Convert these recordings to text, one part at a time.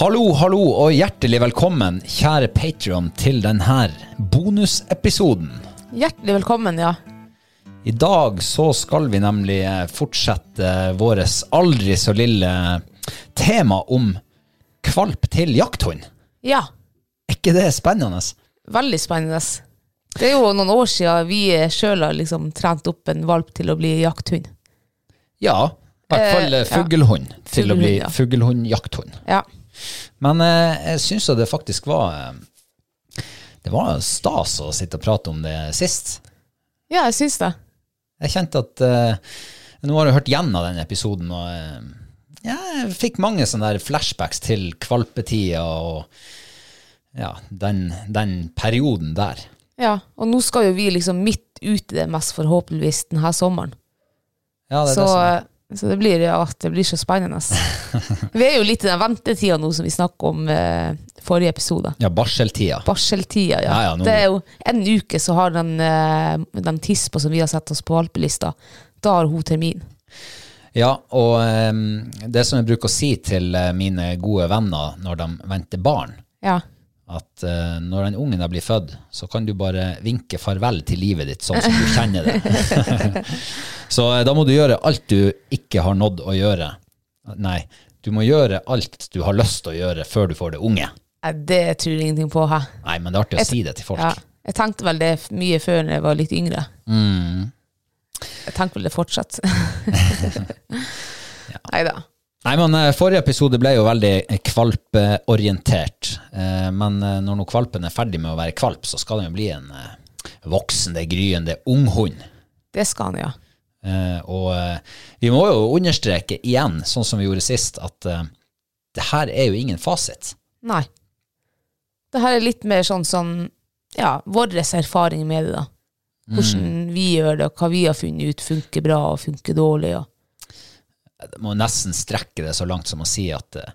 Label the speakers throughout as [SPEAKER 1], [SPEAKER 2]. [SPEAKER 1] Hallo, hallo og hjertelig velkommen, kjære Patreon, til denne bonusepisoden.
[SPEAKER 2] Hjertelig velkommen, ja.
[SPEAKER 1] I dag så skal vi nemlig eh, fortsette våres aldri så lille tema om kvalp til jakthund.
[SPEAKER 2] Ja,
[SPEAKER 1] Er ikke det spennende?
[SPEAKER 2] veldig spennende. Det er jo noen år siden vi sjøl har liksom trent opp en valp til å bli jakthund.
[SPEAKER 1] Ja, i hvert fall eh,
[SPEAKER 2] Eh, ja.
[SPEAKER 1] fuglehund til å bli
[SPEAKER 2] Fuglehund, ja.
[SPEAKER 1] fuglehund-jakthund.
[SPEAKER 2] Ja.
[SPEAKER 1] Men eh, jeg syns jo det faktisk var eh, Det var stas å sitte og prate om det sist.
[SPEAKER 2] ja, jeg syns det.
[SPEAKER 1] Jeg kjente at eh, Nå har jeg hørt gjennom den episoden, og eh, ja, jeg fikk mange sånne der flashbacks til kvalpetida og ja, den, den perioden der.
[SPEAKER 2] Ja, Og nå skal jo vi liksom midt ut i det mest forhåpentligvis denne sommeren.
[SPEAKER 1] Ja, det er
[SPEAKER 2] Så,
[SPEAKER 1] det
[SPEAKER 2] eh,
[SPEAKER 1] som er.
[SPEAKER 2] så det blir ja, at det blir så spennende. vi er jo litt i den ventetida nå som vi snakka om eh, forrige episode.
[SPEAKER 1] ja, barseltida.
[SPEAKER 2] Barseltida, ja.
[SPEAKER 1] Ja, ja, nå-
[SPEAKER 2] Det er jo en uke så har den, eh, den tispa som vi har sett oss på valpelista, da har hun termin.
[SPEAKER 1] Ja, og eh, det som jeg bruker å si til eh, mine gode venner når de venter barn,
[SPEAKER 2] Ja.
[SPEAKER 1] at eh, når den ungen da blir født, så kan du bare vinke farvel til livet ditt sånn som du kjenner det. så eh, da må du gjøre alt du ikke har nådd å gjøre. Nei, du må gjøre alt du har lyst til å gjøre før du får det unge.
[SPEAKER 2] Nei, Det tror jeg ingenting på. Hæ?
[SPEAKER 1] Nei, men det er artig å si det til folk.
[SPEAKER 2] Ja. Jeg tenkte vel det f- mye før når jeg var litt yngre.
[SPEAKER 1] Mm.
[SPEAKER 2] Jeg tenker vel det fortsatt. Nei da.
[SPEAKER 1] Nei, men eh, Forrige episode ble jo veldig eh, kvalpeorientert. Eh, Men eh, når nå kvalpen er ferdig med å være kvalp, så skal den jo bli en eh, voksen, det er gryende unghund.
[SPEAKER 2] Det skal han, ja.
[SPEAKER 1] Eh, og eh, vi må jo understreke igjen, sånn som vi gjorde sist, at eh, det her er jo ingen fasit.
[SPEAKER 2] Nei. Det her er litt mer sånn sånn Ja, vår erfaring med det, da.
[SPEAKER 1] Mm.
[SPEAKER 2] Hvordan vi gjør det, og hva vi har funnet ut funker bra og funker dårlig. Og.
[SPEAKER 1] Jeg må nesten strekke det så langt som å si at eh,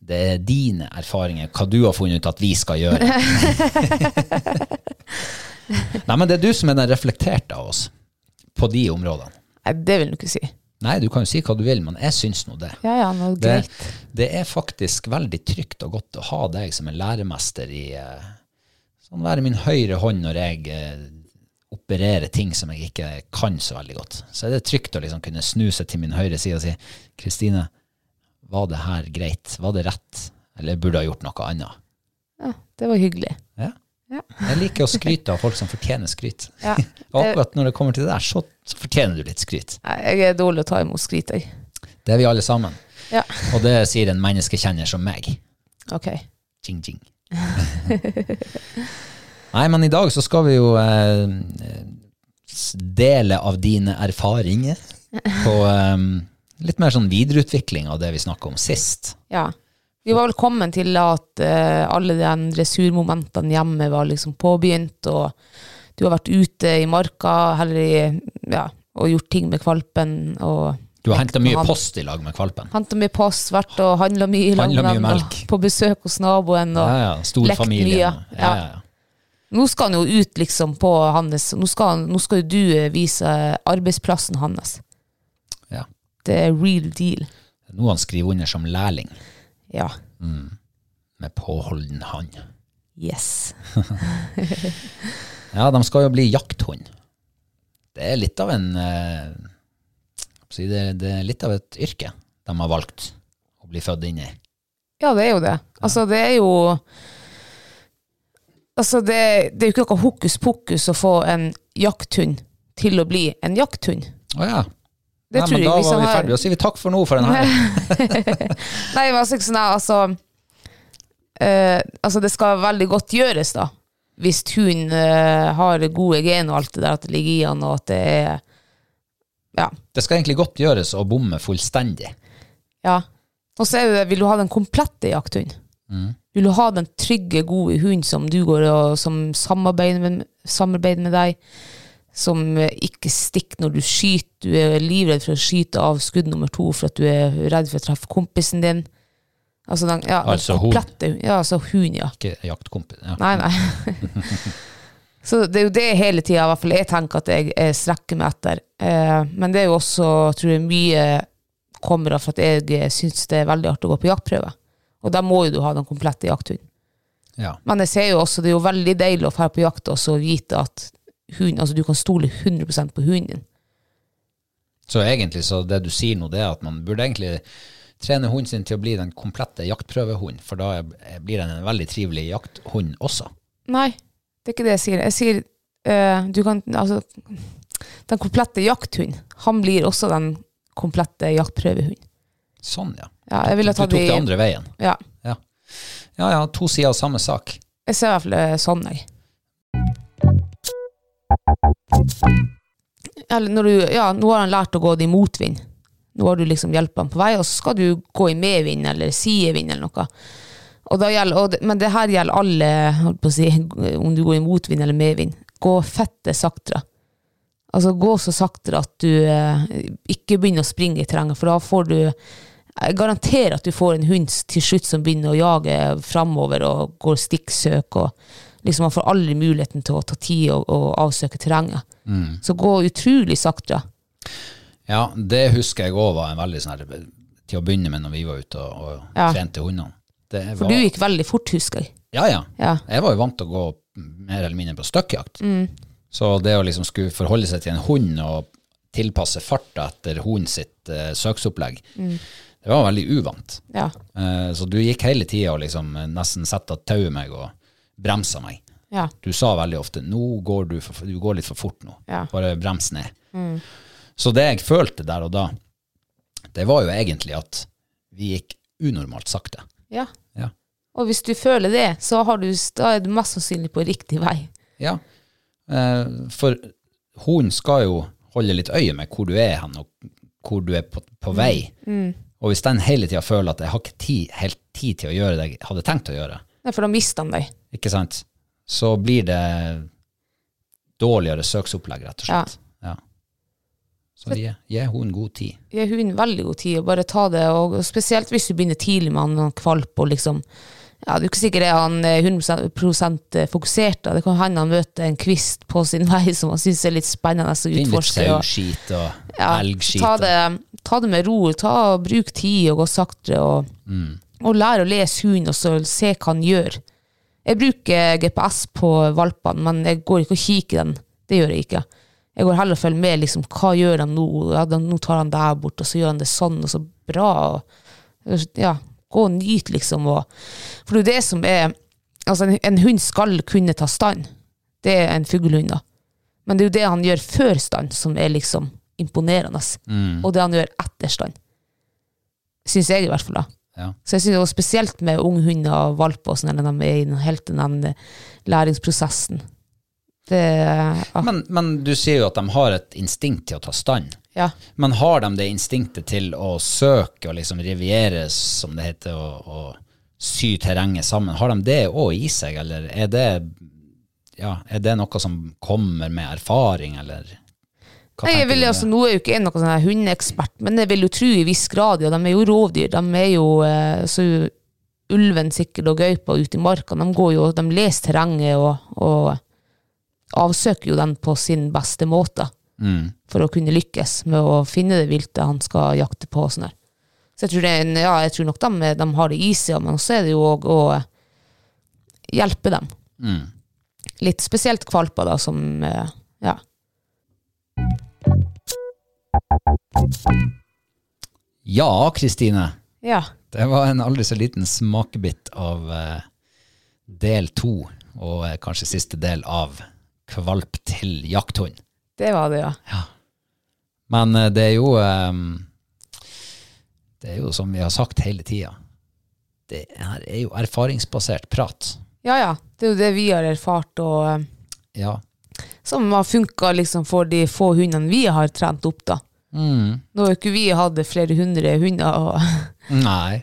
[SPEAKER 1] det er dine erfaringer, hva du har funnet ut at vi skal gjøre. Nei, men det er du som er den reflekterte av oss på de områdene.
[SPEAKER 2] Nei, det vil han ikke si.
[SPEAKER 1] Nei, du kan jo si hva du vil, men jeg syns nå det.
[SPEAKER 2] Ja, ja, nå,
[SPEAKER 1] Det,
[SPEAKER 2] greit.
[SPEAKER 1] det er faktisk veldig trygt og godt å ha deg som en læremester i eh, Sånn være min høyre hånd når jeg eh, opererer ting som jeg ikke kan så veldig godt. Så er det trygt å liksom kunne snu seg til min høyre side og si Kristine, var det her greit? Var det rett? Eller burde jeg ha gjort noe annet?
[SPEAKER 2] Ja, det var hyggelig.
[SPEAKER 1] Ja.
[SPEAKER 2] Ja.
[SPEAKER 1] Jeg liker å skryte av folk som fortjener skryt.
[SPEAKER 2] Ja.
[SPEAKER 1] Og akkurat når det kommer til det der, så, så fortjener du litt skryt.
[SPEAKER 2] Nei, Jeg er dårlig å ta imot skryt, jeg.
[SPEAKER 1] Det er vi alle sammen.
[SPEAKER 2] Ja.
[SPEAKER 1] Og det sier en menneskekjenner som meg.
[SPEAKER 2] Ok.
[SPEAKER 1] Jing, jing. Nei, men i dag så skal vi jo eh, s- dele av dine erfaringer på eh, litt mer sånn videreutvikling av det vi snakka om sist.
[SPEAKER 2] Ja. Vi var vel kommet til at eh, alle de dressurmomentene hjemme var liksom påbegynt, og du har vært ute i marka eller i, ja, og gjort ting med kvalpen. og...
[SPEAKER 1] Du har henta mye
[SPEAKER 2] Han-
[SPEAKER 1] post i lag med valpen.
[SPEAKER 2] Henta mye post, vært og handla mye i lag
[SPEAKER 1] Handlet
[SPEAKER 2] med
[SPEAKER 1] mye
[SPEAKER 2] dem, og
[SPEAKER 1] melk.
[SPEAKER 2] På besøk hos naboen. Og
[SPEAKER 1] Ja, ja, stor
[SPEAKER 2] lekt
[SPEAKER 1] familie.
[SPEAKER 2] mye,
[SPEAKER 1] Ja, ja,
[SPEAKER 2] ja.
[SPEAKER 1] ja.
[SPEAKER 2] Nå skal han jo ut liksom på hans Nå skal, han- nå skal jo du eh, vise arbeidsplassen hans.
[SPEAKER 1] Ja.
[SPEAKER 2] Det er real deal.
[SPEAKER 1] Nå han skriver under som lærling
[SPEAKER 2] Ja.
[SPEAKER 1] med påholden hånd.
[SPEAKER 2] Yes.
[SPEAKER 1] Ja, de skal jo bli jakthund. Det er litt av en eh, si det, det er litt av et yrke de har valgt å bli født inn i.
[SPEAKER 2] Ja, det er jo det. Altså, det er jo Altså, det, det er jo ikke noe hokus pokus å få en jakthund til å bli en jakthund.
[SPEAKER 1] Å ja.
[SPEAKER 2] Det
[SPEAKER 1] Nei,
[SPEAKER 2] tror
[SPEAKER 1] men
[SPEAKER 2] jeg
[SPEAKER 1] da
[SPEAKER 2] vi
[SPEAKER 1] var
[SPEAKER 2] som
[SPEAKER 1] vi altså.
[SPEAKER 2] har-
[SPEAKER 1] ferdige. Da sier vi takk for nå for den her.
[SPEAKER 2] Nei, men altså, ikke sånn, her, altså, eh, altså Det skal veldig godt gjøres, da. Hvis hunden eh, har gode gen og alt det der, at det ligger i han, og at det er Ja.
[SPEAKER 1] Det skal egentlig godt gjøres å bomme fullstendig.
[SPEAKER 2] ja. Og så er det det, vil du ha den komplette jakthunden?
[SPEAKER 1] Mm.
[SPEAKER 2] Vil du ha den trygge, gode hunden som du går og som samarbeider med, samarbeider med deg? Som eh, ikke stikker når du skyter, du er livredd for å skyte av skudd nummer to for at du er redd for å treffe kompisen din. Altså den, ja, den
[SPEAKER 1] Altså hund.
[SPEAKER 2] komplette hunden. Ja, altså hund, ja.
[SPEAKER 1] Ikke jaktkompis. Ja.
[SPEAKER 2] Nei, nei. Så det er jo det hele tida, i hvert fall jeg tenker at jeg, jeg strekker meg etter. Eh, men det er jo også, tror jeg, mye kommer av for at jeg syns det er veldig artig å gå på jaktprøve. Og da må jo du ha den komplette jakthunden.
[SPEAKER 1] Ja.
[SPEAKER 2] Men jeg ser jo også, det er jo veldig deilig å dra på jakt og så vite at hund, altså du kan stole 100 på hunden din.
[SPEAKER 1] Så egentlig så det du sier nå, det er at man burde egentlig trene hunden sin til å bli den komplette jaktprøvehunden, for da er- blir den en veldig trivelig jakthund også.
[SPEAKER 2] Nei, det er ikke det jeg sier. Jeg sier eh, du kan, altså, den komplette jakthunden, han blir også den komplette jaktprøvehunden.
[SPEAKER 1] Sånn, ja.
[SPEAKER 2] Ja, jeg ville
[SPEAKER 1] Du
[SPEAKER 2] ta
[SPEAKER 1] tok
[SPEAKER 2] de-
[SPEAKER 1] det andre veien.
[SPEAKER 2] Ja.
[SPEAKER 1] Ja, ja, ja to sider av samme sak.
[SPEAKER 2] Jeg ser i hvert fall det er sånn, jeg. Eller når du, ja, nå har han lært å gå i motvind. Nå har du liksom hjulpet han på vei, og så skal du gå i medvind eller sidevind eller noe. Og da gjelder, og, det- men det her gjelder alle, holdt på å si, om du går i motvind eller medvind. Gå fette saktere. Altså gå så saktere at du eh, ikke begynner å springe i terrenget, for da får du jeg garanterer at du får en hund til slutt som begynner å jage framover og går stikksøk. og liksom Man får aldri muligheten til å ta tid og, og avsøke terrenget. Så gå utrolig sakte.
[SPEAKER 1] Ja, det husker jeg òg var en veldig sånn her Til å begynne med når vi var ute og, og
[SPEAKER 2] Ja.
[SPEAKER 1] trente hundene. Det var,
[SPEAKER 2] For du gikk veldig fort, husker jeg.
[SPEAKER 1] Ja, ja.
[SPEAKER 2] Ja. Mm.
[SPEAKER 1] Jeg var jo vant til å gå mer eller mindre på støkkjakt. Så det å liksom skulle forholde seg til en hund og tilpasse farta etter hunden sitt eh, søksopplegg,
[SPEAKER 2] Mm.
[SPEAKER 1] det var veldig uvant.
[SPEAKER 2] Ja.
[SPEAKER 1] Eh, så du gikk hele tida og liksom eh, nesten satte tauet meg og bremsa meg.
[SPEAKER 2] Ja.
[SPEAKER 1] Du sa veldig ofte nå går du, for, du går litt for fort nå.
[SPEAKER 2] Ja. Mm.
[SPEAKER 1] Bare brems ned. Så det jeg følte der og da, det var jo egentlig at vi gikk unormalt sakte.
[SPEAKER 2] ja.
[SPEAKER 1] Ja.
[SPEAKER 2] Og hvis du føler det, så har du, da er du mest sannsynlig på riktig vei.
[SPEAKER 1] ja. Eh, for hunden skal jo holde litt øye med hvor du er hen, og hvor du er på,
[SPEAKER 2] Mm.
[SPEAKER 1] på vei. Og hvis den hele tida føler at jeg har ikke tid, helt tid til å gjøre det jeg hadde tenkt å gjøre,
[SPEAKER 2] Nei, For da mister han deg.
[SPEAKER 1] ikke sant, så blir det dårligere søksopplegg, rett og slett. Ja. Så gi, gi hunden god tid.
[SPEAKER 2] Gi hunden veldig god tid, og bare ta det. Og og spesielt hvis du begynner tidlig med han og kvalp, og liksom ja, Du er ikke sikkert er han eh, 100 fokusert. Da. Det kan hende han møter en kvist på sin vei som han syns er litt spennende å
[SPEAKER 1] Finn litt
[SPEAKER 2] utforske. og-
[SPEAKER 1] saueskit og elgskit.
[SPEAKER 2] ta,
[SPEAKER 1] og-
[SPEAKER 2] det, ta det med ro. Ta, bruk tid og gå saktere. Og,
[SPEAKER 1] Mm.
[SPEAKER 2] og lær å lese hunden og så se hva han gjør. Jeg bruker GPS på valpene, men jeg går ikke og kikker i den. Det gjør jeg ikke. Jeg går heller og følger med. Liksom, hva gjør han nå? Ja, da- nå tar han der bort, og så gjør han det sånn, og så bra. Og, ja, gå og nyt, liksom. Og, for det er jo det som er Altså, en, en hund skal kunne ta stand. Det er en fuglehund, da. Men det er jo det han gjør før stand som er liksom imponerende. Og det han gjør etter stand. Syns jeg i hvert fall, da.
[SPEAKER 1] Ja.
[SPEAKER 2] Så jeg synes det var spesielt med unge hunder og valper og sånn, eller de er i den- helt den eh, læringsprosessen. Det ah,
[SPEAKER 1] Men, men du sier jo at de har et instinkt til å ta stand.
[SPEAKER 2] Ja.
[SPEAKER 1] Men har de det instinktet til å søke og liksom riviere, som det heter, og, og sy terrenget sammen? Har de det òg i seg, eller er det, ja, er det noe som kommer med erfaring, eller hva
[SPEAKER 2] Nei, jeg
[SPEAKER 1] tenker
[SPEAKER 2] vil,
[SPEAKER 1] du om
[SPEAKER 2] altså, nå er jo ikke jeg noen sånn her hundeekspert, men jeg vil jo tro i viss grad, ja, de er jo rovdyr. De er jo eh, så ulven sikkert og gaupa ute i marka. De går jo, de leser terrenget og, og avsøker jo den på sin beste måte for å kunne lykkes med å finne det viltet han skal jakte på. og Sånn der. så jeg tror, det er en, ja, jeg tror nok de, de har det i seg, men også er det jo òg å eh, hjelpe dem. Litt spesielt kvalper, da, som eh, ja.
[SPEAKER 1] Ja, Kristine.
[SPEAKER 2] ja.
[SPEAKER 1] Det var en aldri så liten smakebit av eh, del to, og eh, kanskje siste del av Kvalp til jakthund.
[SPEAKER 2] Det var det, ja.
[SPEAKER 1] Men eh, det er jo eh, Det er jo som vi har sagt hele tida, det her er jo erfaringsbasert prat.
[SPEAKER 2] Ja, ja. Det er jo det vi har erfart, og eh,
[SPEAKER 1] Ja.
[SPEAKER 2] som har funka liksom for de få hundene vi har trent opp, da.
[SPEAKER 1] Mm.
[SPEAKER 2] Nå har jo ikke vi hatt flere hundre hunder, og
[SPEAKER 1] Nei.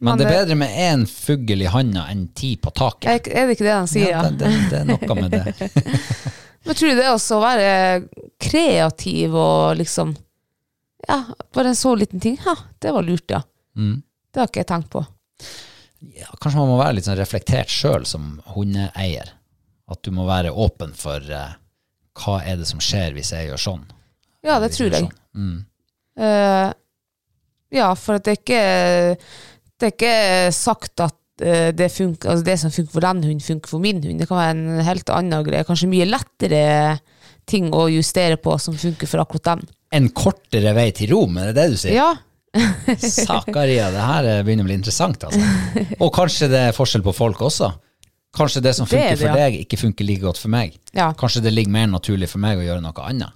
[SPEAKER 1] Men
[SPEAKER 2] Men
[SPEAKER 1] det er
[SPEAKER 2] det-
[SPEAKER 1] bedre med én fugl i handa enn ti på taket.
[SPEAKER 2] er ikke- er det ikke det de sier?
[SPEAKER 1] Ja,
[SPEAKER 2] Ja,
[SPEAKER 1] det, det, det er noe med det.
[SPEAKER 2] Men tror du det også å være kreativ og liksom Ja, bare en så liten ting. Ja, det var lurt, ja.
[SPEAKER 1] Mm.
[SPEAKER 2] Det har ikke jeg tenkt på.
[SPEAKER 1] ja, kanskje man må være litt sånn reflektert sjøl som hundeeier. At du må være åpen for eh, hva er det som skjer hvis jeg gjør sånn.
[SPEAKER 2] Ja, det
[SPEAKER 1] Hvis
[SPEAKER 2] tror
[SPEAKER 1] gjør
[SPEAKER 2] jeg.
[SPEAKER 1] sånn. Mm.
[SPEAKER 2] Eh, ja, for at det er ikke Det er ikke sagt at eh, det, funker, altså det som funker for den hunden, funker for min hund. Det kan være en helt annen greie. Kanskje mye lettere ting å justere på som funker for akkurat den.
[SPEAKER 1] En kortere vei til Rom, er det det du sier?
[SPEAKER 2] Ja,
[SPEAKER 1] Sakaria, det her eh, begynner å bli interessant. Altså. Og kanskje det er forskjell på folk også. Kanskje det som
[SPEAKER 2] Det er
[SPEAKER 1] funker
[SPEAKER 2] det,
[SPEAKER 1] for
[SPEAKER 2] ja.
[SPEAKER 1] deg, ikke funker like godt for meg.
[SPEAKER 2] Ja.
[SPEAKER 1] Kanskje det ligger mer naturlig for meg å gjøre noe annet.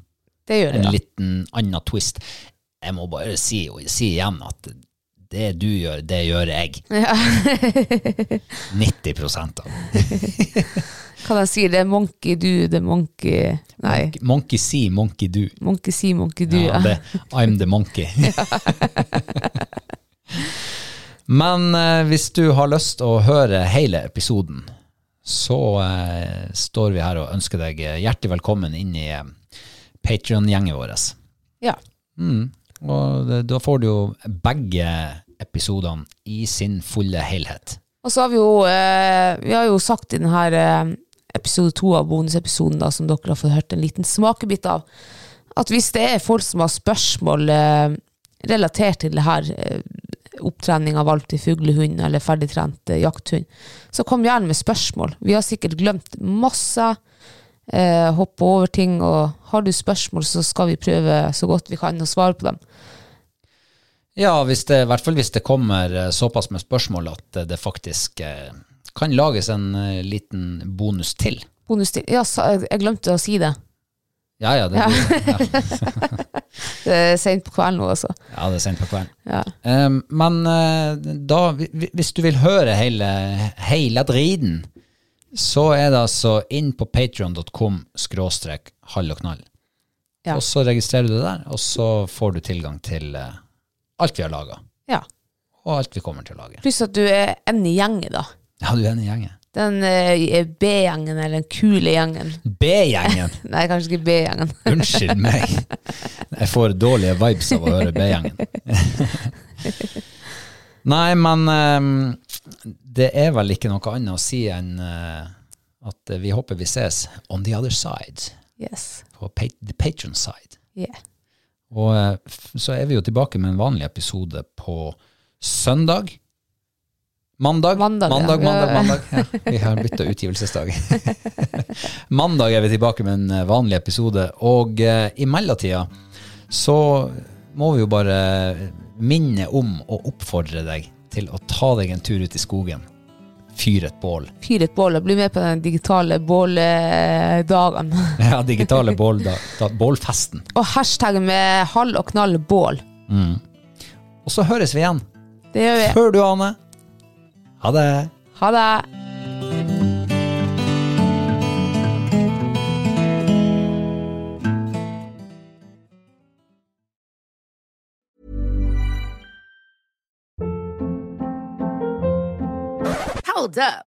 [SPEAKER 2] det gjør
[SPEAKER 1] En
[SPEAKER 2] det.
[SPEAKER 1] liten annen twist. Jeg må bare si, si igjen at det du gjør, det gjør jeg.
[SPEAKER 2] Ja.
[SPEAKER 1] 90 av.
[SPEAKER 2] Hva de sier, det er monkey do, det er monkey Nei,
[SPEAKER 1] Monkey see, monkey do.
[SPEAKER 2] monkey see, monkey do.
[SPEAKER 1] Ja,
[SPEAKER 2] Ja,
[SPEAKER 1] det, I'm the monkey. Men eh, hvis du har lyst å høre hele episoden, så eh, står vi her og ønsker deg eh, hjertelig velkommen inn i eh, Patrion-gjengen vår.
[SPEAKER 2] ja.
[SPEAKER 1] Mm. Og det, da får du jo begge episodene i sin fulle helhet.
[SPEAKER 2] Og så har vi jo eh, Vi har jo sagt i denne eh, episode to av bonusepisoden, da, som dere har fått hørt en liten smakebit av, at hvis det er folk som har spørsmål eh, relatert til det her, eh, opptrening av valp til fuglehund eller ferdigtrent eh, jakthund, så kom gjerne med spørsmål. Vi har sikkert glemt masse. Eh, hoppe over ting, og har du spørsmål, så skal vi prøve så godt vi kan å svare på dem.
[SPEAKER 1] Ja, hvis det, i hvert fall hvis det kommer eh, såpass med spørsmål at eh, det faktisk eh, kan lages en eh, liten bonus til.
[SPEAKER 2] Bonus til Ja, sa- jeg glemte å si det.
[SPEAKER 1] Ja, ja, det blir det. Ja.
[SPEAKER 2] Det er seint på kvelden nå, altså.
[SPEAKER 1] Ja, det er sent på kvelden.
[SPEAKER 2] Ja.
[SPEAKER 1] Ehm, men eh, da, hvi- hvi- hvis du vil høre hele, hele driden, så er det altså inn på patreon.com skråstrek hall og knall.
[SPEAKER 2] Ja.
[SPEAKER 1] Og så registrerer du det der, og så får du tilgang til eh, alt vi har laga,
[SPEAKER 2] ja.
[SPEAKER 1] og alt vi kommer til å lage.
[SPEAKER 2] Pluss at du er en i gjengen, da.
[SPEAKER 1] Ja, du er en i gjengen.
[SPEAKER 2] Den eh, B-gjengen, eller den kule gjengen.
[SPEAKER 1] B-gjengen!
[SPEAKER 2] Nei, kanskje ikke B-gjengen.
[SPEAKER 1] Unnskyld meg. Jeg får dårlige vibes av å høre B-gjengen. Nei, men ehm, det er vel ikke noe annet å si enn eh, at vi håper vi ses on the other side,
[SPEAKER 2] Yes.
[SPEAKER 1] på pa the patron side.
[SPEAKER 2] Yeah.
[SPEAKER 1] Og eh, f- så er vi jo tilbake med en vanlig episode på søndag. Mandag,
[SPEAKER 2] Mandag, ja.
[SPEAKER 1] mandag, mandag.
[SPEAKER 2] Ja.
[SPEAKER 1] mandag. Ja, vi har bytta utgivelsesdag. mandag er vi tilbake med en eh, vanlig episode, og eh, i mellomtida så må vi jo bare minne om å oppfordre deg til å ta deg en tur ut i skogen. Fyr et bål.
[SPEAKER 2] Fyr et bål og bli med på den digitale båldagen.
[SPEAKER 1] Ja, digitale bål, da, da, bålfesten.
[SPEAKER 2] Og hashtag med halv og knall bål.
[SPEAKER 1] Og så høres vi igjen
[SPEAKER 2] Det gjør vi.
[SPEAKER 1] Før du aner. Ha det.
[SPEAKER 2] Ha det.
[SPEAKER 3] Hold up.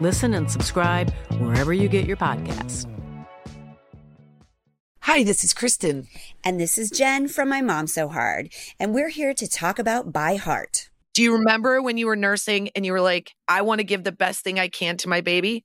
[SPEAKER 4] Listen and subscribe wherever you get your podcasts.
[SPEAKER 5] Hi, this is Kristen.
[SPEAKER 6] And this is Jen from My Mom So Hard, and we're here to talk about By Heart.
[SPEAKER 5] Do you remember when you were nursing and you were like, I want to give the best thing I can to my baby?